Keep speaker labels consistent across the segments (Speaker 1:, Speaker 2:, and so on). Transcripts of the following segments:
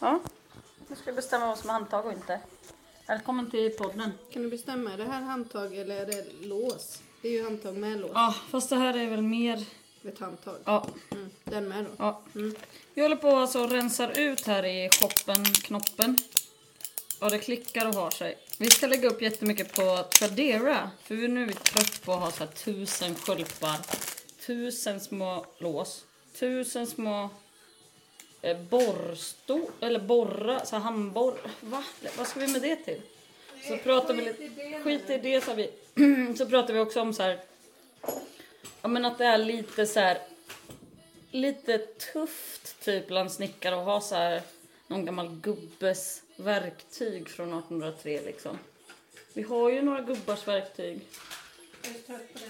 Speaker 1: Ja. Nu ska vi bestämma vad som är handtag och inte. Välkommen till podden.
Speaker 2: Kan du bestämma, är det här handtag eller är det lås? Det är ju handtag med lås.
Speaker 3: Ja, fast det här är väl mer...
Speaker 2: Ett handtag.
Speaker 3: Ja,
Speaker 2: Mm. Den med då.
Speaker 3: ja.
Speaker 2: Mm.
Speaker 3: Vi håller på alltså och rensar ut här i shoppen, knoppen. Ja, det klickar och har sig. Vi ska lägga upp jättemycket på Tradera, för vi nu är vi trött på att ha så här tusen skölpar, tusen små lås, tusen små eh, borrsto eller borra, så här handborr. Va? Vad ska vi med det till? Så pratar vi lite, skit i det sa vi. så pratar vi också om så här, ja men att det är lite så här lite tufft typ bland snickare att ha så här någon gammal gubbes verktyg från 1803 liksom. Vi har ju några gubbars verktyg.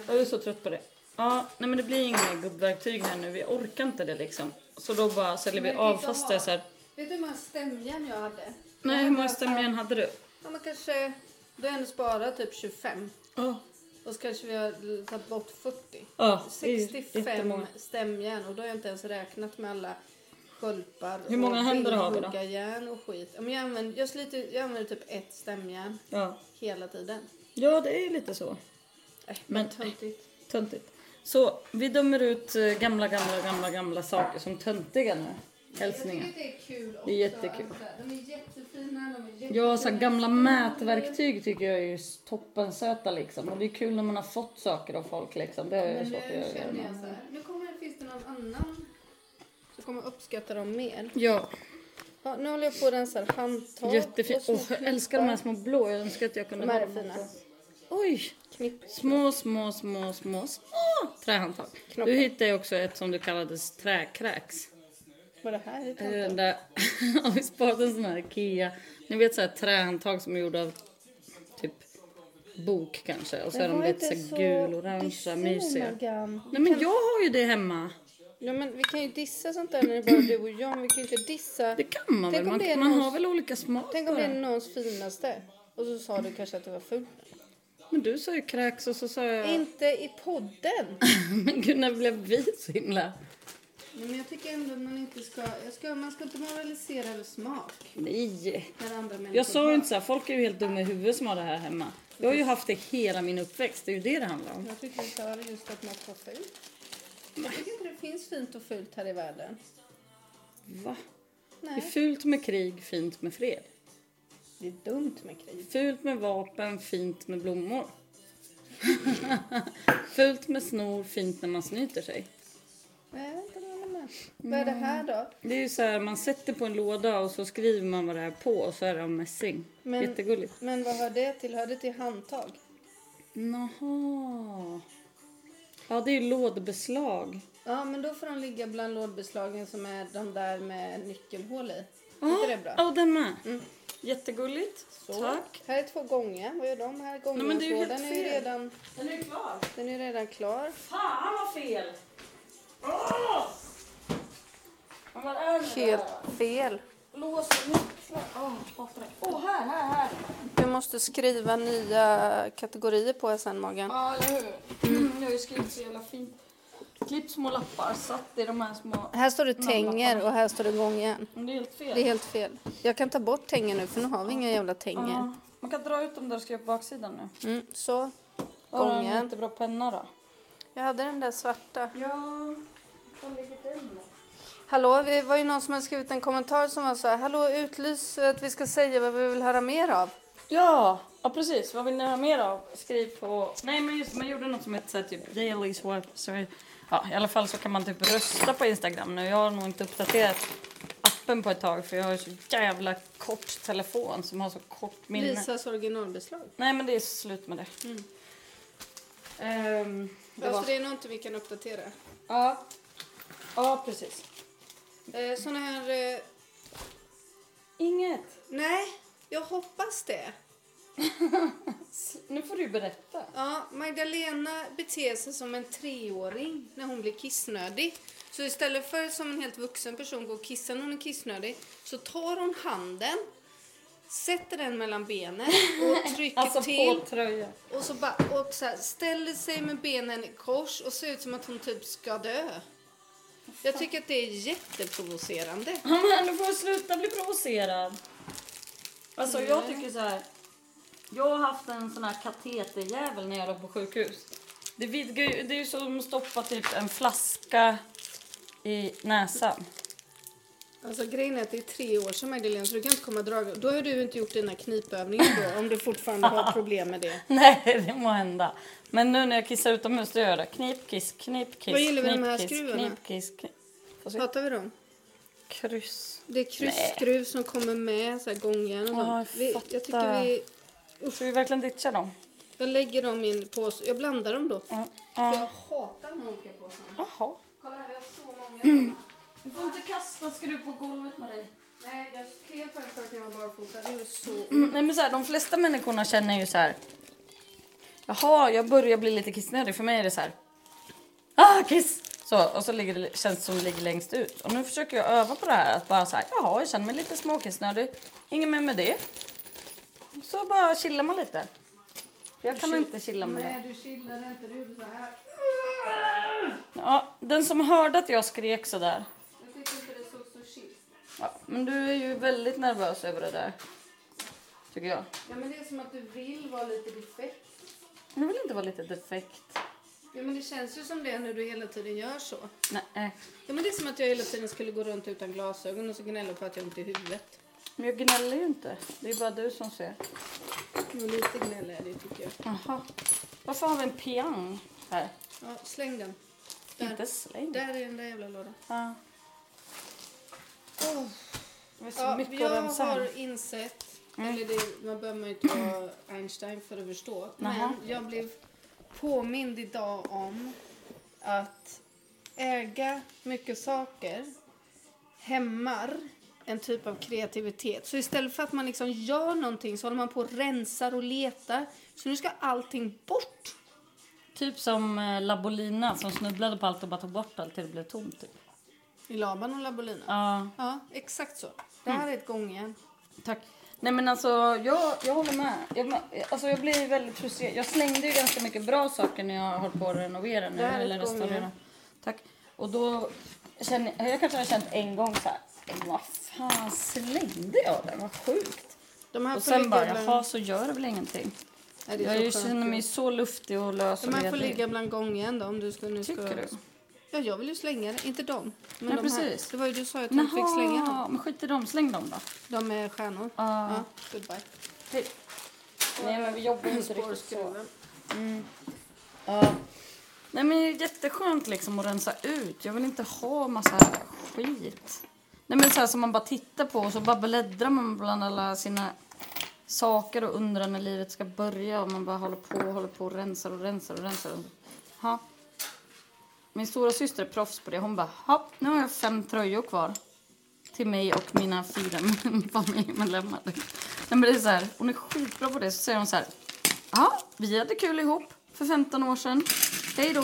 Speaker 3: Jag är så trött på det. Ja, nej men det blir inga gubbverktyg här nu. Vi orkar inte det liksom. Så då bara säljer vi
Speaker 2: Men vi kan
Speaker 3: av fast det är så här.
Speaker 2: Vet du hur många stämjärn jag hade?
Speaker 3: Nej, hur många stämningar hade du?
Speaker 2: Ja, men kanske... Du har ändå sparat typ 25.
Speaker 3: Ja,
Speaker 2: Och så kanske vi har tagit bort 40.
Speaker 3: ja, det är ju jättemånga.
Speaker 2: 65 stämjärn och då har jag inte ens räknat med alla sköldpaddor
Speaker 3: Hur många
Speaker 2: och
Speaker 3: händer har vi då?
Speaker 2: pilbuggarjärn och skit. Ja, men Jag använder, jag, sliter, jag använder typ ett stämjärn
Speaker 3: Ja.
Speaker 2: hela tiden.
Speaker 3: ja, det är lite så.
Speaker 2: Äh,
Speaker 3: Men-
Speaker 2: men töntigt.
Speaker 3: Töntigt. Så vi dömer ut eh, gamla, gamla, gamla, gamla saker som töntiga nu. Hälsningar.
Speaker 2: det är kul också.
Speaker 3: Det är jättekul.
Speaker 2: de är jättefina, de är
Speaker 3: Ja, så här gamla mätverktyg tycker jag är ju toppensöta liksom. Och det är kul när man har fått saker av folk liksom. Det är
Speaker 2: Men
Speaker 3: svårt att
Speaker 2: nu
Speaker 3: göra.
Speaker 2: känner jag
Speaker 3: med.
Speaker 2: så här, nu kommer, finns det någon annan som kommer uppskatta dem mer.
Speaker 3: Ja,
Speaker 2: Ja, nu håller jag på och rensar handtag.
Speaker 3: jättefint.
Speaker 2: och
Speaker 3: Åh,
Speaker 2: små
Speaker 3: jag älskar de här små blå. Jag önskar att jag kunde
Speaker 2: De här
Speaker 3: ha
Speaker 2: är
Speaker 3: dem
Speaker 2: fina.
Speaker 3: också. Oj!
Speaker 2: Knipp.
Speaker 3: Små, små, små, små, små trähandtag.
Speaker 2: Knoppar.
Speaker 3: Du hittade ju också ett som du kallades träkräks.
Speaker 2: Vad det här är
Speaker 3: Är det Den där, har vi sparat en sån här Ikea, ni vet så här trähandtag som är gjorda av typ bok kanske och så är de lite så gul-orangea, mysiga. Nej men jag har ju det hemma.
Speaker 2: Ja, men vi kan ju dissa sånt där när det är bara du och jag, men vi kan ju inte dissa.
Speaker 3: Det kan man
Speaker 2: Tänk
Speaker 3: väl? Man,
Speaker 2: om det är
Speaker 3: man
Speaker 2: någon-
Speaker 3: har väl olika smak
Speaker 2: Tänk om det är
Speaker 3: bara.
Speaker 2: någons finaste. Och så sa du kanske att det var fult.
Speaker 3: Men du sa ju kräks och så sa jag...
Speaker 2: Inte i podden.
Speaker 3: men gud när blev vi så himla...
Speaker 2: Nej, men jag tycker ändå att man inte ska, jag ska, man ska inte moralisera över smak.
Speaker 3: Nej.
Speaker 2: När andra människor
Speaker 3: Jag sa
Speaker 2: har.
Speaker 3: ju inte så här, folk är ju helt dumma i huvudet som har det här hemma. Jag har ju haft det hela min uppväxt, det är ju det det handlar om.
Speaker 2: Jag tycker vi sa just att något var fult. Jag tycker inte det finns fint och fult här i världen.
Speaker 3: Va? Det är
Speaker 2: Nej.
Speaker 3: fult med krig, fint med fred.
Speaker 2: Det är dumt med krig.
Speaker 3: Fult med vapen, fint med blommor. Fult med snor, fint när man snyter sig.
Speaker 2: Nej, jag vet inte vad jag håller med. Vad är det
Speaker 3: Mm.
Speaker 2: här då?
Speaker 3: Det är ju så här, man sätter på en låda och så skriver man vad det är på och så är det av mässing.
Speaker 2: Men-
Speaker 3: Jättegulligt.
Speaker 2: Men vad hör det till? Hör det till handtag?
Speaker 3: Jaha. Ja, det är ju lådbeslag.
Speaker 2: Ja, men då får de ligga bland lådbeslagen som är de där med nyckelhål i.
Speaker 3: Ja,
Speaker 2: Inte det bra?
Speaker 3: ja, den med. Mm. Jättegulligt.
Speaker 2: Så.
Speaker 3: ah, Tack.
Speaker 2: Här är två gånger. Vad gör de här?
Speaker 3: Nej, men det är ju
Speaker 2: Gångjärnslådan
Speaker 3: helt
Speaker 2: är ju
Speaker 3: fel.
Speaker 2: redan,
Speaker 3: Den är klar.
Speaker 2: den är redan klar.
Speaker 3: Fan vad fel! Åh! Men vad är det där?
Speaker 2: fel.
Speaker 3: Lås och nycklar. Åh, hatar det. Åh, här, här, här.
Speaker 2: Du måste skriva nya kategorier på här sen, Morgan.
Speaker 3: Ja, eller hur? Mm. Jag har ju skrivit så jävla fint. Klippt små lappar, satt i de här små...
Speaker 2: Här står det tänger och här står det gångjärn.
Speaker 3: Men det är helt fel.
Speaker 2: Det är helt fel. Jag kan ta bort tänger nu för nu har vi inga jävla tänger.
Speaker 3: Ja. Man kan dra ut dem där och skriva på baksidan nu.
Speaker 2: Mm, så.
Speaker 3: Har du en
Speaker 2: Gången.
Speaker 3: jättebra penna då?
Speaker 2: Jag hade den där svarta.
Speaker 3: Ja... Vad ligger den då?
Speaker 2: Hallå, det var ju någon som hade skrivit en kommentar som var så här. Hallå, utlys att vi ska säga vad vi vill höra mer av.
Speaker 3: Ja, ja precis. Vad vill ni ha mer av? Skriv på... Nej men just man gjorde något som hette så här, typ daily swipe. Sorry. Ja, i alla fall så kan man typ rösta på Instagram nu. Jag har nog inte uppdaterat appen på ett tag för jag har ju så jävla kort telefon som har så kort minne.
Speaker 2: Lisas originalbeslag.
Speaker 3: Nej men det är slut med det. Ehm, det var...
Speaker 2: det är nog inte vi kan uppdatera.
Speaker 3: ja. ja, precis.
Speaker 2: Eh, såna här... Eh,
Speaker 3: Inget.
Speaker 2: nej, jag hoppas det.
Speaker 3: Nu får du berätta.
Speaker 2: Ja, Magdalena beter sig som en treåring när hon blir kissnödig. Så istället för som en helt vuxen person går och kissar när hon är kissnödig så tar hon handen, sätter den mellan benen och trycker
Speaker 3: Alltså
Speaker 2: till.
Speaker 3: på tröjan.
Speaker 2: Och så, bara, och så här, ställer sig med benen i kors och ser ut som att hon typ ska dö. Jag tycker att det är jätteprovocerande.
Speaker 3: Ja, men du får sluta bli provocerad. Alltså jag tycker så här. Jag har haft en sån här kateterjävel när jag låg på sjukhus. Det, vidgar ju, det är ju som att stoppa typ en flaska i näsan.
Speaker 2: Alltså grejen är att det är tre år sedan Magdalena så du kan inte komma och dra. Då har du inte gjort dina knipövningar då om du fortfarande har problem med det.
Speaker 3: Nej, det må hända. Men nu när jag kissar utomhus då gör jag det. Knip, kiss, knip, kiss,
Speaker 2: Vad gillar vi
Speaker 3: knip,
Speaker 2: med de här
Speaker 3: kiss,
Speaker 2: skruvarna?
Speaker 3: knip, kiss, knip. Får se.
Speaker 2: Pratar vi dem?
Speaker 3: Kryss.
Speaker 2: Det är kryssskruv som kommer med så här gångjärn och
Speaker 3: Ja,
Speaker 2: sånt.
Speaker 3: jag
Speaker 2: vi,
Speaker 3: fattar.
Speaker 2: jag tycker vi...
Speaker 3: Ska vi verkligen ditcha dem?
Speaker 2: Jag lägger dem i en påse. Jag blandar dem då.
Speaker 3: Ja.
Speaker 2: Jag hatar de här olika påsarna.
Speaker 3: Jaha.
Speaker 2: Kolla här, vi har så
Speaker 3: Mm.
Speaker 2: många.
Speaker 3: Du får inte kasta skruv på golvet med dig.
Speaker 2: Nej, jag skrev på en för att jag var barfota. Det är så...
Speaker 3: Mm, Nej, men så här, de flesta människorna känner ju så här. Jaha, jag börjar bli lite kissnödig. För mig är det så här. Ah, kiss! Så, och så ligger det, känns det som det ligger längst ut. Och nu försöker jag öva på det här. Att bara så här, jaha, jag känner mig lite småkissnödig. Inget mer med det. Så bara chillar man lite. Jag kan inte chilla med det.
Speaker 2: Nej, du chillade inte. Du gjorde så här.
Speaker 3: Ja, den som hörde att jag skrek så där.
Speaker 2: Jag tyckte inte det såg så chill.
Speaker 3: Ja, men du är ju väldigt nervös över det där. Tycker jag.
Speaker 2: Ja, men det är som att du vill vara lite defekt.
Speaker 3: Du vill inte vara lite defekt.
Speaker 2: Ja, men det känns ju som det när du hela tiden gör så.
Speaker 3: Nej. eh.
Speaker 2: Ja, men det är som att jag hela tiden skulle gå runt utan glasögon och så gnälla på att jag har ont i huvudet.
Speaker 3: Men jag gnäller ju inte. Det är bara du som ser.
Speaker 2: Men lite gnäll är det tycker jag.
Speaker 3: Jaha. Varför har vi en piang här?
Speaker 2: Ja, släng den.
Speaker 3: Inte
Speaker 2: Där,
Speaker 3: släng.
Speaker 2: där är den där jävla lådan.
Speaker 3: Ja. Det är så
Speaker 2: Ja,
Speaker 3: mycket
Speaker 2: jag
Speaker 3: att rensa här.
Speaker 2: har insett,
Speaker 3: Mm.
Speaker 2: eller det, man behöver man ju inte vara Einstein för att förstå.
Speaker 3: Jaha.
Speaker 2: Men jag blev påmind idag om att äga mycket saker hämmar en typ av kreativitet. Så istället för att man liksom gör någonting så håller man på och rensar och letar. Så nu ska allting bort.
Speaker 3: Typ som eh, Labolina som snubblade på allt och bara tog bort allt till det blev tomt. Typ.
Speaker 2: I Laban och Labolina.
Speaker 3: Ja, Mm.
Speaker 2: Ja, exakt så. Det här är ett gångjärn.
Speaker 3: tack. Nej men alltså jag, jag håller med. Jag, men- alltså, jag blir väldigt frustrerad. Jag slängde ju ganska mycket bra saker när jag höll på att renovera nu.
Speaker 2: Det här är
Speaker 3: Eller
Speaker 2: ett gånger.
Speaker 3: restaurera. Tack. Och då känner jag, jag kanske har känt en gång så här. "Men Vad fan slängde jag den? Vad sjukt.
Speaker 2: De här
Speaker 3: Och
Speaker 2: får
Speaker 3: sen
Speaker 2: ligga
Speaker 3: bara,
Speaker 2: bland-
Speaker 3: jaha så gör det väl ingenting.
Speaker 2: Nej, det är
Speaker 3: Jag
Speaker 2: så
Speaker 3: är ju-
Speaker 2: skönt.
Speaker 3: känner mig så luftig och lös och
Speaker 2: De här får
Speaker 3: ledig.
Speaker 2: ligga bland gången då om du ska, nu ska...
Speaker 3: Tycker du?
Speaker 2: Ja, jag vill ju slänga det. Inte dem. Men
Speaker 3: Ja,
Speaker 2: de
Speaker 3: precis.
Speaker 2: Här. Det var ju du sa att du inte fick slänga dem.
Speaker 3: Jaha, men skit i dem, släng dem då.
Speaker 2: De är stjärnor.
Speaker 3: Ja.
Speaker 2: Ja, goodbye.
Speaker 3: Hej. Nej men vi jobbar ju inte riktigt så.
Speaker 2: Spårskruven.
Speaker 3: Ja. Nej men det är jätteskönt liksom att rensa ut. Jag vill inte ha massa skit. Nej men så här som man bara tittar på och så bara bläddrar man bland alla sina saker och undrar när livet ska börja och man bara håller på och håller på och rensar och rensar och rensar. Ha. Min stora syster är proffs på det. Hon bara, ha, nu har jag fem tröjor kvar. Till mig och mina fyra familjemedlemmar. Nej men det är så här, hon är skitbra på det. Så säger hon så här, ja, vi hade kul ihop för 15 år sedan. Hej då.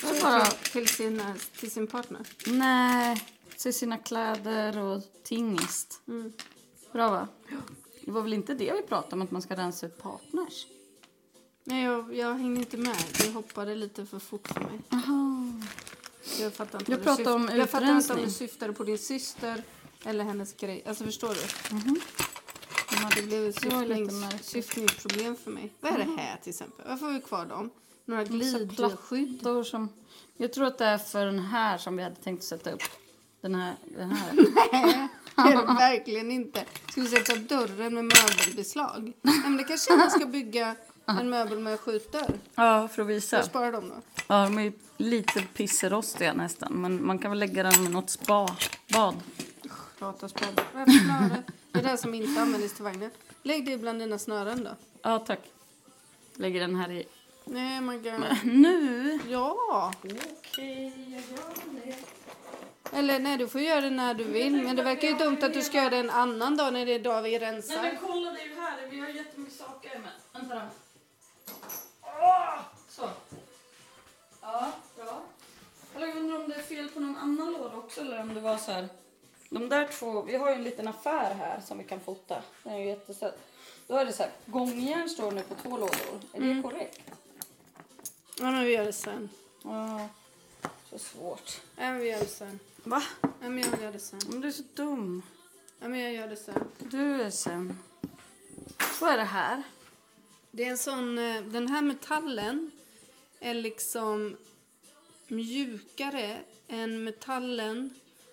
Speaker 3: Så bara,
Speaker 2: Till- Till, sin,
Speaker 3: eh,
Speaker 2: till sin partner.
Speaker 3: nej, till sina kläder och tingest. Bra va? Det var väl inte det vi pratade om, att man ska rensa ut partners?
Speaker 2: Nej, jag, jag hängde inte med. Du hoppade lite för fort för mig.
Speaker 3: Aha.
Speaker 2: Jag fattar inte
Speaker 3: Jag
Speaker 2: vad
Speaker 3: pratar
Speaker 2: du syft-
Speaker 3: om
Speaker 2: Jag fattar inte om
Speaker 3: utrensning.
Speaker 2: du syftade på din syster eller hennes grej. Alltså förstår du?
Speaker 3: Men
Speaker 2: Det blev ett
Speaker 3: Det var ju Mhm. lite
Speaker 2: syftnings-
Speaker 3: märkligt.
Speaker 2: syftningsproblem för mig. Vad är det här till exempel? Varför har vi kvar dem? Några
Speaker 3: platt-
Speaker 2: glidskydd?
Speaker 3: plattor som... Jag tror att det är för den här som vi hade tänkt sätta upp. Den här. Den här.
Speaker 2: Nej, det är det verkligen inte. Ska vi sätta upp dörren med möbelbeslag? Nej, men det kanske man ska bygga en möbel med skjutdörr.
Speaker 3: ja, för att
Speaker 2: Får
Speaker 3: visa.
Speaker 2: Jag sparar dem då.
Speaker 3: Ja, de är ju lite pisserostiga nästan. Men man kan väl lägga dem i något spa. Bad.
Speaker 2: Prata sparar. Vad är det för snöre? Det där som inte användes till vagnen. Lägg det bland dina snören då.
Speaker 3: Ja, tack. Lägger den här i.
Speaker 2: Nej, man kan...
Speaker 3: Nu?
Speaker 2: Ja! Eller nej, du får göra det när du vill. Men det verkar ju dumt att du ska göra det en annan dag när det är dag vi rensar.
Speaker 3: kolla det är ju här. Vi har jättemycket saker med. Vänta då. Ah! Så. Ja, bra. Eller jag undrar om det är fel på någon annan låda också eller om det var så här. De där två, vi har ju en liten affär här som vi kan fota. Den är ju jättesöt. Då är det så här, gångjärn står nu på två Mm. lådor. Är det korrekt?
Speaker 2: Ja, men vi gör det sen.
Speaker 3: Ja.
Speaker 1: Så svårt.
Speaker 2: Nej, men vi gör det sen.
Speaker 3: Va?
Speaker 2: Nej, men jag gör det sen.
Speaker 3: Men du är så dum.
Speaker 2: Nej, men jag gör det sen.
Speaker 3: Du är sen. Vad är det här?
Speaker 2: Det är en sån... eh, Den här metallen är liksom mjukare än metallen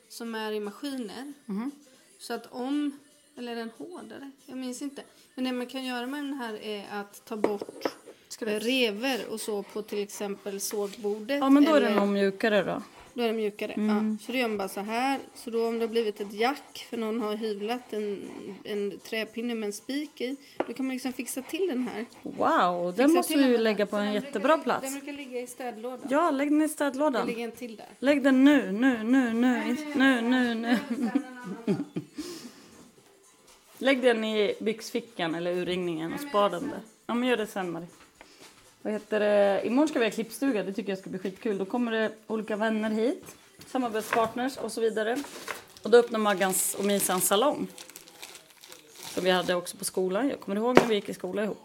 Speaker 2: som är i maskiner.
Speaker 3: Mhm.
Speaker 2: Så att om... Eller är den hårdare? Jag minns inte. Men det man kan göra med den här är att ta bort
Speaker 3: Ska vi-
Speaker 2: eh, revor och så på till exempel sågbordet.
Speaker 3: Ja, men då är
Speaker 2: eller-
Speaker 3: den Mm. nog mjukare då.
Speaker 2: Då är det mjukare. Ja. Så då gör man bara så här. Så då om det har blivit ett jack för någon har hyvlat en, en träpinne med en spik i. Då kan man liksom fixa till den här.
Speaker 3: Wow, den
Speaker 2: Fixa
Speaker 3: måste
Speaker 2: till
Speaker 3: vi ju
Speaker 2: den.
Speaker 3: lägga på
Speaker 2: Så
Speaker 3: en
Speaker 2: den
Speaker 3: jättebra
Speaker 2: brukar, Den
Speaker 3: plats.
Speaker 2: brukar ligga i städlådan.
Speaker 3: Ja, lägg den i
Speaker 2: Det
Speaker 3: städlådan.
Speaker 2: ligger en till där.
Speaker 3: Lägg den nu, nu, nu, nu, inte- nu, nu, nu. Lägg den i byxfickan eller urringningen och spar den där. Ja, men gör det sen Marie. Vad heter det? Imorgon ska vi ha klippstuga, det tycker jag ska bli skitkul. Då kommer det olika vänner hit, samarbetspartners och så vidare. Och då öppnar Maggans och Misans salong. Som vi hade också på skolan. Jag kommer ihåg när vi gick i skola ihop.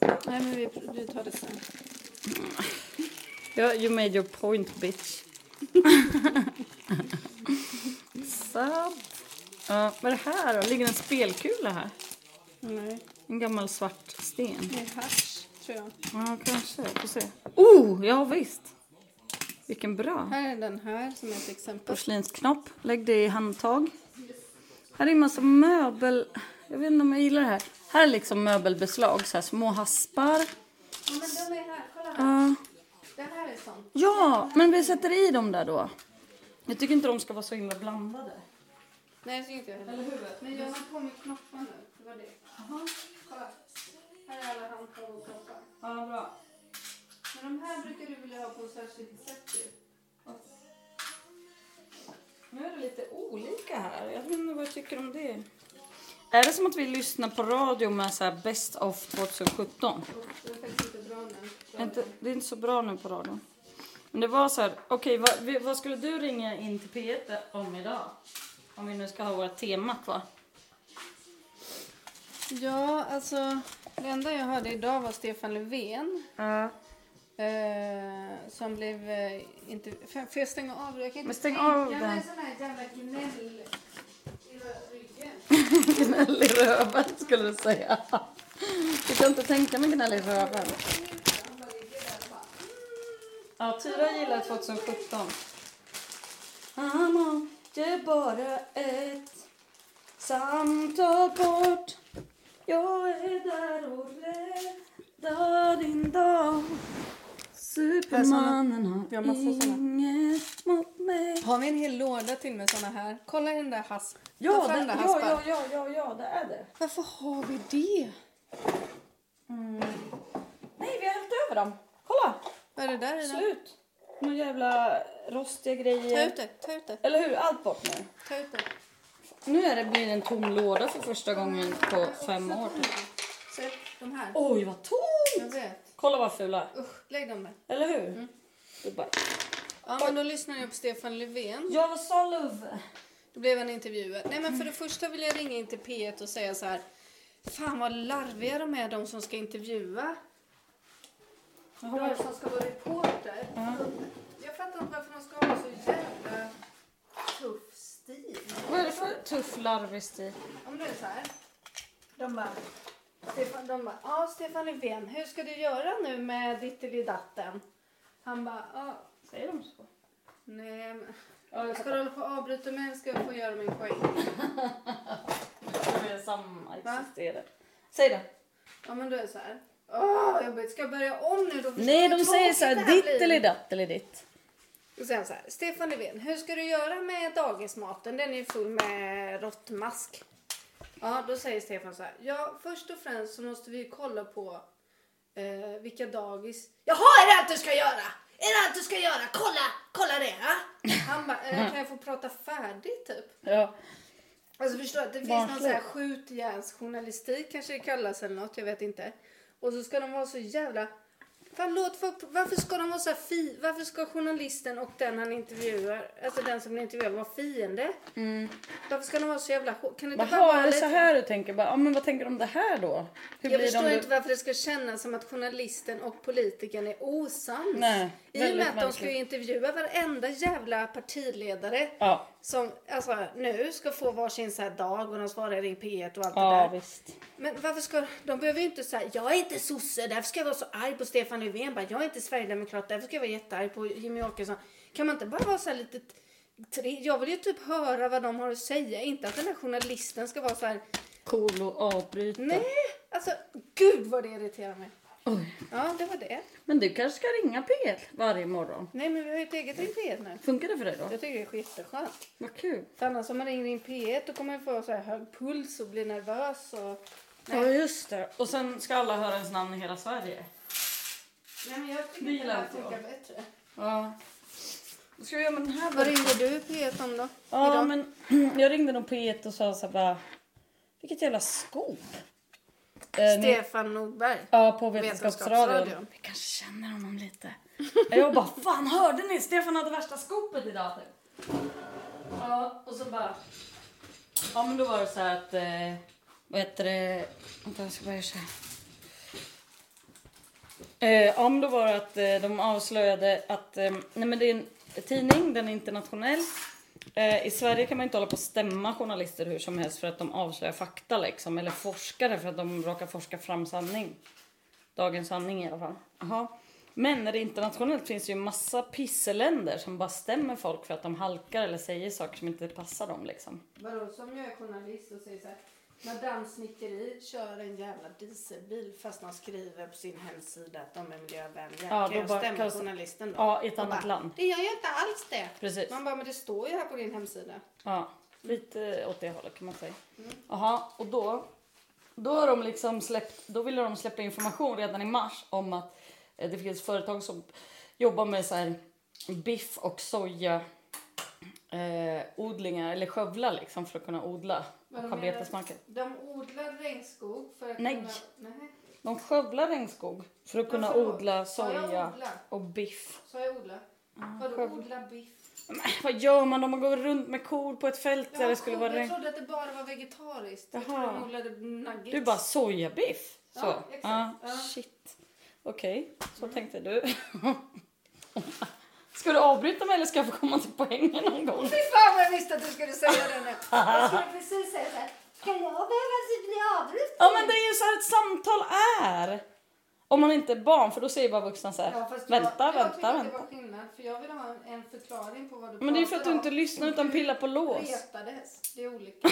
Speaker 2: Nej men vi, vi tar det sen.
Speaker 3: Ja, you made your point bitch. Sant. Ja, vad är det här då? Ligger en spelkula här?
Speaker 2: Nej,
Speaker 3: En gammal svart sten.
Speaker 2: det är hasch tror jag.
Speaker 3: Ja, kanske. Får se. Oh, ja visst. Vilken bra.
Speaker 2: Här är den här som är ett exempel.
Speaker 3: Porslinsknopp. Lägg det i handtag. Här är en massa möbel... Jag vet inte om jag gillar det här. Här är liksom möbelbeslag, så här små haspar.
Speaker 2: Ja men den är här, kolla här.
Speaker 3: Ja.
Speaker 2: Det här är sånt.
Speaker 3: ja, men vi sätter i dem där då. Jag tycker inte de ska vara så himla blandade.
Speaker 2: Nej det tycker inte jag heller. Men jag har på mig knoppar nu. Det var det. Jaha. Kolla. Här är alla handtag och knoppar.
Speaker 3: Ja, bra.
Speaker 2: Men de här brukar du vilja ha på ett särskilt sätt ju.
Speaker 3: Nu är det lite olika här. Jag vet inte vad jag tycker om det. Är det som att vi lyssnar på radio med så här Best of 2017?
Speaker 2: Och det är faktiskt inte bra nu.
Speaker 3: Det är inte, det är inte så bra nu på radion. Men det var så här, okej vad, vi- vad skulle du ringa in till P1 om idag? Om vi nu ska ha våra tema kvar.
Speaker 2: Ja, alltså det enda jag hörde idag var Stefan Löfven.
Speaker 3: Ja.
Speaker 2: Eh, som blev... Eh, inte, får får jag stänga av? Jag kan inte
Speaker 3: Men stäng
Speaker 2: tänka
Speaker 3: av
Speaker 2: mig
Speaker 3: den.
Speaker 2: sån här jävla gnäll i rö- ryggen.
Speaker 3: Gnäll i röven skulle du säga. Jag kan inte tänka mig gnäll i röven. Ja, Tyra gillar 2017. Han åkte bara ett samtal bort. Jag är där och räddar din dag. Supermannen
Speaker 2: Vi har
Speaker 3: har
Speaker 2: massa såna.
Speaker 3: inget mot mig.
Speaker 2: Har vi en hel låda till med såna här? Kolla i den där hasp.
Speaker 3: Ja,
Speaker 2: Ta fram
Speaker 3: det,
Speaker 2: den
Speaker 3: ja,
Speaker 2: haspen.
Speaker 3: ja, ja, ja, ja, det är det.
Speaker 2: Varför har vi det?
Speaker 3: Nej, vi har hällt över dem. Kolla!
Speaker 2: Vad är det där i den?
Speaker 3: Slut! Några jävla rostiga
Speaker 2: Ta
Speaker 3: grejer.
Speaker 2: ut det, ta ut det,
Speaker 3: Eller hur? Allt bort nu.
Speaker 2: ta ut det.
Speaker 3: Nu är det blir det en tom låda för första gången på fem år. typ.
Speaker 2: Så, de här.
Speaker 3: Oj, vad
Speaker 2: Jag
Speaker 3: tomt!
Speaker 2: vet.
Speaker 3: Kolla vad fula.
Speaker 2: Usch, lägg dem där.
Speaker 3: Eller hur? Det är bara-
Speaker 2: Ja, men då lyssnar jag på Stefan Löfven.
Speaker 3: Ja, vad sa Love?
Speaker 2: Då blev han intervjuad. Nej, men för det första vill jag ringa in till P1 och säga så här. Fan vad larviga de är de som ska intervjua. De som ska vara reporter. Jag fattar inte varför de ska ha så jävla tuff stil.
Speaker 3: Vad är det för tuff larvig stil?
Speaker 2: Om det är så här. De bara. Stefan, de bara, ja Stefan Löfven, hur ska du göra nu med dittelidatten? Han bara, ja,
Speaker 3: Säger de så?
Speaker 2: nej men.
Speaker 3: Ja, jag
Speaker 2: Ska du hålla på och avbryta mig eller ska jag få göra min poäng?
Speaker 3: fattar. De är samma existerar. Säg det.
Speaker 2: Ja men då är det så här. Åh, jobbigt. Ska jag börja om nu då? Förstår
Speaker 3: Nej,
Speaker 2: jag
Speaker 3: de
Speaker 2: tråkigt
Speaker 3: säger så
Speaker 2: det
Speaker 3: här.
Speaker 2: här
Speaker 3: Ditt
Speaker 2: blir.
Speaker 3: eller datt eller ditt.
Speaker 2: Och sen så här. Stefan Löfven, hur ska du göra med dagismaten? Den är ju full med råttmask. Ja, då säger Stefan så här. Ja, först och främst så måste vi ju kolla på eh, vilka dagis... Jaha, är det allt du ska göra? Är det allt du ska göra? Kolla, kolla det! Va? Han bara, eh, kan jag få prata färdigt typ?
Speaker 3: Ja.
Speaker 2: Alltså förstår du, det finns någon sån här skjutjärnsjournalistik kanske det kallas eller något, jag vet inte. Och så ska de vara så jävla Fan, låt folk, varför ska de vara så här fi, Varför ska journalisten och den han intervjuar, alltså den som blir intervjuad, vara fiende? Varför ska de vara så jävla hår- Kan det inte bara
Speaker 3: Jaha,
Speaker 2: vara
Speaker 3: Mm. det är
Speaker 2: lite...
Speaker 3: så här du tänker. Bara, ja, men vad tänker du om det här då? Hur blir
Speaker 2: Jag
Speaker 3: det om
Speaker 2: förstår
Speaker 3: du-
Speaker 2: inte varför det ska kännas som att journalisten och politikern är osams.
Speaker 3: Nej,
Speaker 2: I och
Speaker 3: väldigt
Speaker 2: med att de ska ju
Speaker 3: märkligt.
Speaker 2: intervjua varenda jävla partiledare
Speaker 3: Ja,
Speaker 2: som alltså, nu ska få varsin så här dag och de svarar i Ring P1 och allt det
Speaker 3: ja
Speaker 2: där.
Speaker 3: visst.
Speaker 2: Men varför ska de behöver ju inte säga jag är inte sosse, därför ska jag vara så arg på Stefan Löfven. Bara, jag är inte sverigedemokrat, därför ska jag vara jättearg på Jimmy Åkesson. Kan man inte bara vara så här lite tre... Jag vill ju typ höra vad de har att säga, inte att den här journalisten ska vara så här
Speaker 4: Cool och avbryta.
Speaker 2: nej, alltså gud vad det irriterar mig.
Speaker 4: Oj.
Speaker 2: Ja, det var det.
Speaker 4: Men du kanske ska ringa P1 varje morgon?
Speaker 2: Nej, men vi har ju ett eget Ring P1 nu.
Speaker 4: Funkar det för dig då?
Speaker 2: Jag tycker det är jätteskönt.
Speaker 4: Vad kul.
Speaker 2: För annars om man ringer in P1 då kommer man få så här hög puls och bli nervös och...
Speaker 4: Ja, just det. Och sen ska alla höra ens namn i hela Sverige.
Speaker 2: Nej, men jag tycker
Speaker 4: Det
Speaker 2: att det
Speaker 4: gillar
Speaker 2: här
Speaker 4: inte jag.
Speaker 2: funkar bättre.
Speaker 4: Ja. Då ska vi göra med den här
Speaker 2: Vad
Speaker 4: burken.
Speaker 2: ringde du P1 om då?
Speaker 3: Ja,
Speaker 2: Idag?
Speaker 3: men jag ringde dem på P1 och sa så här bara, vilket jävla skop. Eh, ni-
Speaker 2: Stefan Nordberg.
Speaker 3: Ja, på Vetenskapsradion.
Speaker 2: Vetenskapsradion.
Speaker 4: Vi kanske känner honom lite. Jag bara, fan hörde ni? Stefan hade värsta skopet idag. typ." Ja, och så bara... Ja, men då var det så här att... Eh, vad heter det? Vänta, jag ska bara göra så här.
Speaker 3: Eh, ja, men då var det att eh, de avslöjade att eh, nej, men det är en tidning, den är internationell. Eh, I Sverige kan man inte hålla på att stämma journalister hur som helst för att de avslöjar fakta liksom, eller forskare för att de råkar forska fram sanning. Dagens sanning i alla fall. Jaha. Men när det är internationellt finns det ju massa pisseländer som bara stämmer folk för att de halkar eller säger saker som inte passar dem liksom.
Speaker 2: Vadå, som jag är journalist och säger så här. Madame Snickeri kör en jävla dieselbil fast de skriver på sin hemsida att de är miljövänliga.
Speaker 3: Ja,
Speaker 2: kan
Speaker 3: då
Speaker 2: jag
Speaker 3: bara-
Speaker 2: stämma
Speaker 3: kan jag-
Speaker 2: journalisten då?
Speaker 3: Ja, i ett
Speaker 2: Och
Speaker 3: annat
Speaker 2: bara,
Speaker 3: land.
Speaker 2: Det gör jag inte alls det.
Speaker 3: Precis.
Speaker 2: Man bara, men det står ju här på din hemsida.
Speaker 3: Ja, lite åt det hållet kan man säga. Jaha, och då, då har de liksom släppt, då ville de släppa information redan i mars om att eh, det finns företag som jobbar med så här biff och soja eh, odlingar eller skövlar liksom för att kunna odla
Speaker 2: Vad de
Speaker 3: på betesmarker.
Speaker 2: De odlar regnskog för att
Speaker 3: Nej.
Speaker 2: kunna... Nej.
Speaker 3: De skövlar regnskog för att kunna
Speaker 2: förlåt.
Speaker 3: odla
Speaker 2: Sa jag
Speaker 3: soja
Speaker 2: odla?
Speaker 3: och biff.
Speaker 2: Sa jag odla? Vadå
Speaker 3: skövla.
Speaker 2: odla biff?
Speaker 3: Men, vad gör man om man går runt med kor på ett fält där det skulle
Speaker 2: jag
Speaker 3: vara regn?
Speaker 2: trodde att det bara var vegetariskt. Jag
Speaker 3: Jaha.
Speaker 2: trodde de odlade nuggets.
Speaker 3: Du bara sojabiff? Så.
Speaker 2: Ja, exakt. Ja. Mm.
Speaker 3: Shit. Okej, så tänkte du. ska du avbryta mig eller ska jag få komma till poängen någon gång?
Speaker 2: Fy fan vad jag visste att du skulle säga det nu. Jag skulle precis säga såhär. Kan jag behöva bli avbruten?
Speaker 3: Ja men det är ju så här ett samtal är. Om man inte är barn för då säger bara vuxna så här.
Speaker 2: Ja, fast jag,
Speaker 3: vänta,
Speaker 2: jag tycker
Speaker 3: vänta,
Speaker 2: att
Speaker 3: vänta.
Speaker 2: Det var skillnad för jag ville ha en, en förklaring på vad du
Speaker 3: Men det är ju för att du
Speaker 2: pratar
Speaker 3: inte
Speaker 2: om.
Speaker 3: lyssnar utan pillar på lås.
Speaker 2: Retades. Det är olika.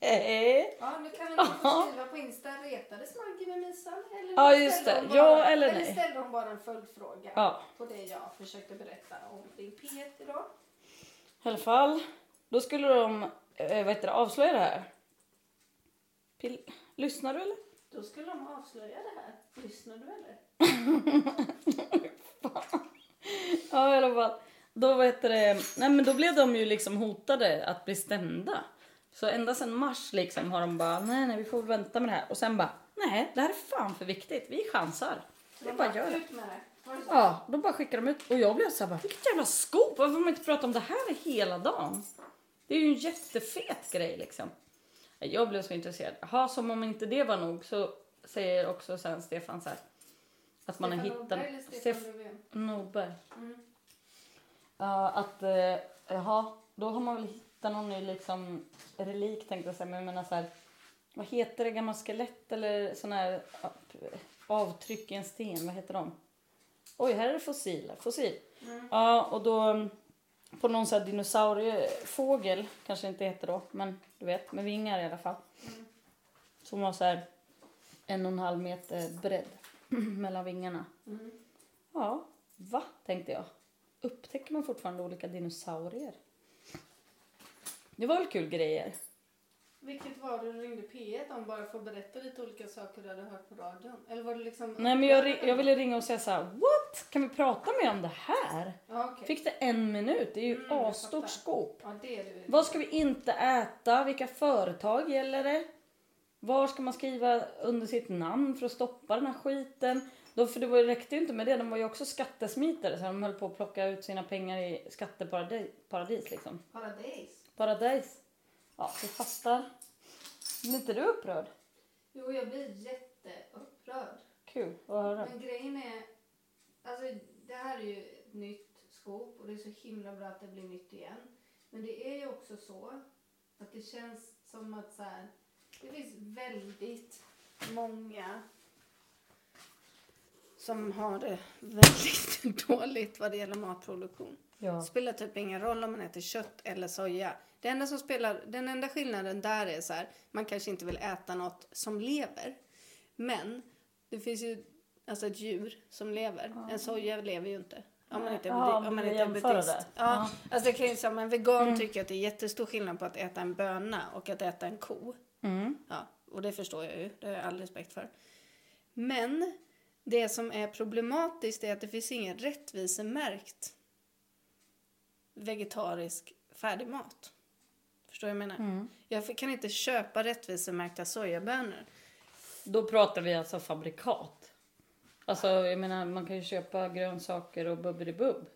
Speaker 3: Hehe.
Speaker 2: Ja, nu kan vi inte skriva på Insta. Retades Maggie med Misan? Eller
Speaker 3: Ja, just
Speaker 2: ställde
Speaker 3: det.
Speaker 2: hon Bara,
Speaker 3: Ja eller nej.
Speaker 2: ställde hon bara en följdfråga
Speaker 3: Ja.
Speaker 2: på det jag försökte berätta om din P1 idag?
Speaker 3: I alla fall, då skulle de eh, vad heter det, avslöja det här. Pill- Lyssnar du eller?
Speaker 2: Då skulle de avslöja det här. Lyssnar du eller?
Speaker 3: Ja, i alla fall. Då, vad heter det? Nej, men då blev de ju liksom hotade att bli stämda. Så ända sedan mars liksom har de bara, nej, nej, vi får vänta med det här. Och sen bara, nej, det här är fan för viktigt. Vi chansar. Vi
Speaker 2: De
Speaker 3: bara gör det.
Speaker 2: Ut med det. Var det så?
Speaker 3: Ja, då bara skickar de ut. Och jag blev så här, bara, vilket jävla skop. Varför får man inte prata om det här hela dagen? Det är ju en jättefet grej liksom. Jag blev så intresserad. Jaha, som om inte det var nog så säger också sen Stefan så här. Att man har
Speaker 2: Stefan
Speaker 3: hittat...
Speaker 2: Nordberg eller Stefan
Speaker 3: Stef-
Speaker 2: Löfven?
Speaker 3: Norberg.
Speaker 2: Mm.
Speaker 3: Ja, att, eh, jaha, då har man väl hittat någon ny liksom, relik tänkte jag säga, men jag menar så här, vad heter det, gamla skelett eller sån här ja, p- avtryck i en sten, vad heter de? Oj, här är det fossiler, fossil. Ja, och då mm, på någon sån här dinosauriefågel, kanske inte heter då, men du vet, med vingar i alla fall. Som var så här en och en halv meter bredd mellan vingarna.
Speaker 2: Mm.
Speaker 3: Ja, va? tänkte jag. Upptäcker man fortfarande olika dinosaurier? Det var väl kul grejer?
Speaker 2: Vilket var det du ringde P1 om bara för att berätta lite olika saker du hade hört på radion? Eller var det liksom...
Speaker 3: Nej men jag, ri- jag ville ringa och säga så här: what? Kan vi prata mer om det här?
Speaker 2: Ja, okej.
Speaker 3: Fick det en minut? Det är ju
Speaker 2: Mm, jag
Speaker 3: asstort
Speaker 2: fattar.
Speaker 3: skåp.
Speaker 2: Ja, det är du.
Speaker 3: Vad ska vi inte äta? Vilka företag gäller det? Var ska man skriva under sitt namn för att stoppa den här skiten? Då, för det var, räckte ju inte med det, de var ju också skattesmitare så de höll på att plocka ut sina pengar i skatteparadis paradis, liksom.
Speaker 5: Paradis.
Speaker 3: Paradis. Ja, du fattar. Blir inte du upprörd?
Speaker 5: Jo, jag blir jätteupprörd.
Speaker 3: Kul att höra.
Speaker 5: Men grejen är, alltså det här är ju ett nytt skop och det är så himla bra att det blir nytt igen. Men det är ju också så att det känns som att så här, det finns väldigt många
Speaker 2: Som har det väldigt dåligt vad det gäller matproduktion.
Speaker 3: Ja.
Speaker 2: Det spelar typ ingen roll om man äter kött eller soja. Det enda som spelar, den enda skillnaden där är så här, man kanske inte vill äta något som lever. Men det finns ju alltså ett djur som lever. En soja lever ju inte. Om man inte är,
Speaker 3: Ja,
Speaker 2: budi-
Speaker 3: om
Speaker 2: om man
Speaker 3: vi
Speaker 2: inte är
Speaker 3: jämför
Speaker 2: buddhist.
Speaker 3: det.
Speaker 2: Ja, Alltså jag kan ju säga, men vegan
Speaker 3: Mm.
Speaker 2: tycker att det är jättestor skillnad på att äta en böna och att äta en ko.
Speaker 3: Mm,
Speaker 2: Ja, och det förstår jag ju. Det har jag all respekt för. Men det som är problematiskt är att det finns ingen rättvisemärkt vegetarisk färdigmat. Förstår du vad jag menar?
Speaker 3: Mm.
Speaker 2: Jag kan inte köpa rättvisemärkta sojabönor.
Speaker 3: Då pratar vi alltså fabrikat. Alltså, jag menar, man kan ju köpa grönsaker och bubbelibubb.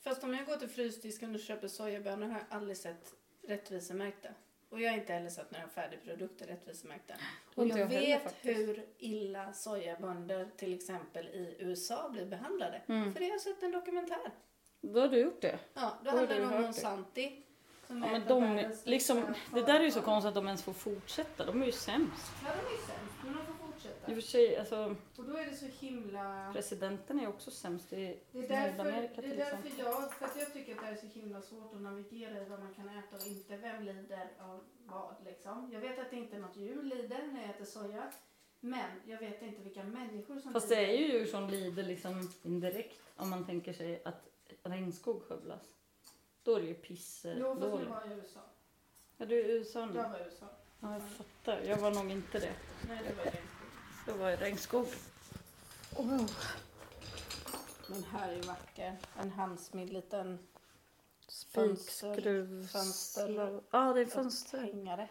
Speaker 2: Fast om jag går till frysdisken och köper sojabönor har jag aldrig sett rättvisemärkta. Och jag har inte heller sett några färdigprodukter rättvisemärkta. Och
Speaker 3: Inte
Speaker 2: jag,
Speaker 3: jag heller,
Speaker 2: vet
Speaker 3: faktiskt.
Speaker 2: hur illa sojabönder till exempel i USA blir behandlade.
Speaker 3: Mm.
Speaker 2: För det har jag sett en dokumentär.
Speaker 3: Då har du gjort det.
Speaker 2: Ja, då
Speaker 3: Oj,
Speaker 2: handlar
Speaker 3: du har
Speaker 2: det om
Speaker 3: hört det.
Speaker 2: Monsanti. Som
Speaker 3: Ja,
Speaker 2: är
Speaker 3: men
Speaker 2: ett av
Speaker 3: de,
Speaker 2: världens
Speaker 3: liksom,
Speaker 2: största
Speaker 3: det där är ju så
Speaker 2: företag.
Speaker 3: konstigt att de ens får fortsätta. De är ju sämst.
Speaker 5: Ja, de är sämst, men de får fortsätta.
Speaker 3: I och för sig, alltså,
Speaker 5: Och då är det så himla...
Speaker 3: presidenten är också sämst i
Speaker 5: Det är därför,
Speaker 3: Nordamerika
Speaker 5: det är
Speaker 3: till
Speaker 5: därför
Speaker 3: exempel.
Speaker 5: jag, för att jag tycker att det här är så himla svårt att navigera i vad man kan äta och inte. Vem lider av vad liksom? Jag vet att det inte är något djur lider när jag äter soja. Men jag vet inte vilka människor som
Speaker 3: Fast
Speaker 5: lider.
Speaker 3: det är ju djur som lider liksom indirekt om man tänker sig att regnskog skövlas. Då är det ju piss. eh,
Speaker 5: Jo, fast nu
Speaker 3: dåligt.
Speaker 5: var jag i USA.
Speaker 3: Ja, du är i USA nu.
Speaker 5: Jag var i USA.
Speaker 3: Ja, jag fattar. Jag var nog inte det.
Speaker 5: Nej, det var jag inte.
Speaker 3: Jag var i regnskog.
Speaker 2: Men här är ju vacker. En handsmidd liten
Speaker 3: Spikskruv...
Speaker 2: Fönster.
Speaker 3: Ja, det är fönster.
Speaker 2: hängare.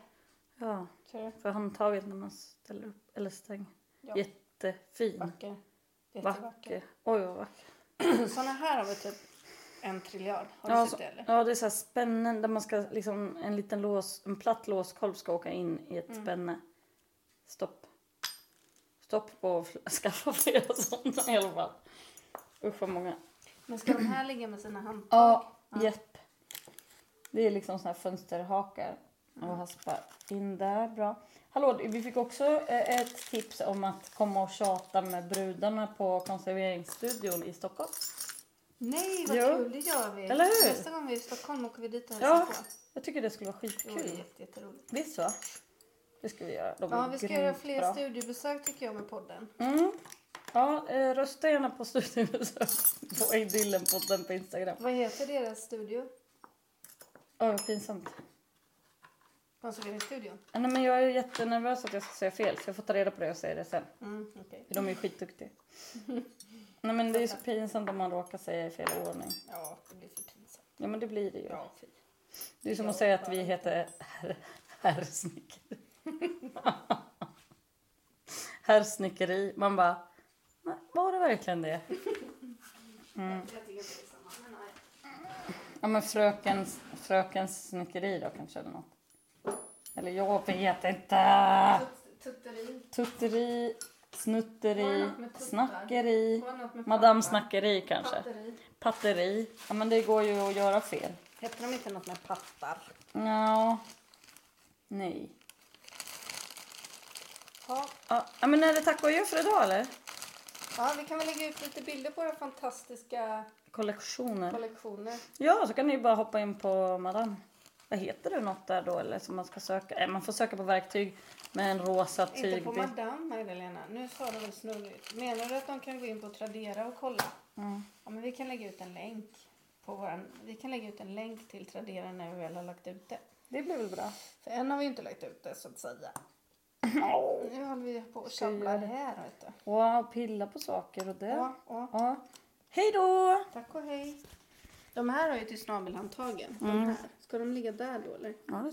Speaker 3: Ja,
Speaker 2: Ser du?
Speaker 3: för handtaget när man ställer upp eller stänger.
Speaker 2: Ja.
Speaker 3: Jättefin.
Speaker 2: Vacker.
Speaker 3: Vacker.
Speaker 2: Jättevacker.
Speaker 3: Oj, vad vacker.
Speaker 2: Sådana här har vi typ en triljard. Har du
Speaker 3: Ja,
Speaker 2: sett
Speaker 3: så-
Speaker 2: det eller?
Speaker 3: Ja, det är så här spännen där man ska liksom en liten lås, en platt låskolv ska åka in i ett
Speaker 5: Mm.
Speaker 3: spänne. Stopp. Stopp på att fl- skaffa flera sådana i alla fall. Usch vad många.
Speaker 2: Men ska de här ligga med sina handtag?
Speaker 3: Ja, japp. Det är liksom såna här fönsterhakar och
Speaker 5: Mm.
Speaker 3: haspar in där. Bra. Hallå, vi fick också eh, ett tips om att komma och tjata med brudarna på konserveringsstudion i Stockholm.
Speaker 5: Nej, vad
Speaker 3: Jo.
Speaker 5: kul. Det gör vi.
Speaker 3: Eller hur?
Speaker 5: Nästa gång vi är i Stockholm åker vi dit och hälsar
Speaker 3: Ja,
Speaker 5: på.
Speaker 3: jag tycker det skulle vara
Speaker 5: Det vore
Speaker 3: skitkul.
Speaker 5: jätte- jätteroligt.
Speaker 3: Visst så? Det ska vi göra. De
Speaker 5: Ja,
Speaker 3: är
Speaker 5: vi ska
Speaker 3: grymt
Speaker 5: göra fler
Speaker 3: bra.
Speaker 5: studiebesök tycker jag med podden.
Speaker 3: Mm. Ja, eh, rösta gärna på studiebesök på Idyllenpodden på Instagram.
Speaker 5: Vad heter deras studio?
Speaker 3: Åh, vad pinsamt.
Speaker 5: Konserveringsstudion?
Speaker 3: Eh, Nej, men jag är jättenervös att jag ska säga fel, så jag får ta reda på det och säga det sen.
Speaker 5: Mm, okej.
Speaker 3: För de är ju skitduktiga. Nej, men det är ju så pinsamt om man råkar säga i fel ordning.
Speaker 5: Ja, det blir för pinsamt.
Speaker 3: Ja, men det blir det ju.
Speaker 5: Ja.
Speaker 3: Det är som att säga att vi heter herr- herrsnickeri. Herrsnickeri. Man bara, "Nej, var det verkligen det? Mm.
Speaker 5: Jag tycker det är samma, men nej.
Speaker 3: Ja men frökens, frökens snickeri då kanske eller något. Eller jag vet inte.
Speaker 5: Tut- Tutteri.
Speaker 3: Tutteri,
Speaker 5: Var det
Speaker 3: snutteri,
Speaker 5: något med tuttar?
Speaker 3: snackeri,
Speaker 5: Var det något med
Speaker 3: madame
Speaker 5: pappa?
Speaker 3: snackeri kanske.
Speaker 5: Patteri.
Speaker 3: Patteri. Ja men det går ju att göra fel.
Speaker 2: Heter de inte något med pattar?
Speaker 3: Ja. Nej.
Speaker 2: Ja.
Speaker 3: Ja ja, men är det tack och gör för idag eller?
Speaker 2: ja, vi kan väl lägga ut lite bilder på våra fantastiska
Speaker 3: Kollektioner.
Speaker 2: kollektioner.
Speaker 3: Ja så kan ni ju bara hoppa in på madame. Vad heter det något där då eller som man ska söka? Eh, Man får söka på verktyg med en rosa
Speaker 2: Inte på
Speaker 3: tygbit.
Speaker 2: Madame Magdalena. Nu sa du väl snurrigt. Menar du att de kan gå in på Tradera och kolla?
Speaker 3: Mm.
Speaker 2: Ja, men vi kan lägga ut en länk. På våran, vi kan lägga ut en länk till Tradera när vi väl har lagt ut det.
Speaker 3: Det blir väl bra.
Speaker 2: För än har vi inte lagt ut det så att säga. Nu håller vi på och
Speaker 3: Ska jag
Speaker 2: tjabblar
Speaker 3: göra det?
Speaker 2: här vet du.
Speaker 3: Wow, pilla på saker och det.
Speaker 2: Ja, ja.
Speaker 3: Ja. Hej då! Mm.
Speaker 2: Tack och hej. De här har ju till snabelhandtagen. De här. Ska de ligga där då eller?
Speaker 3: Ja, det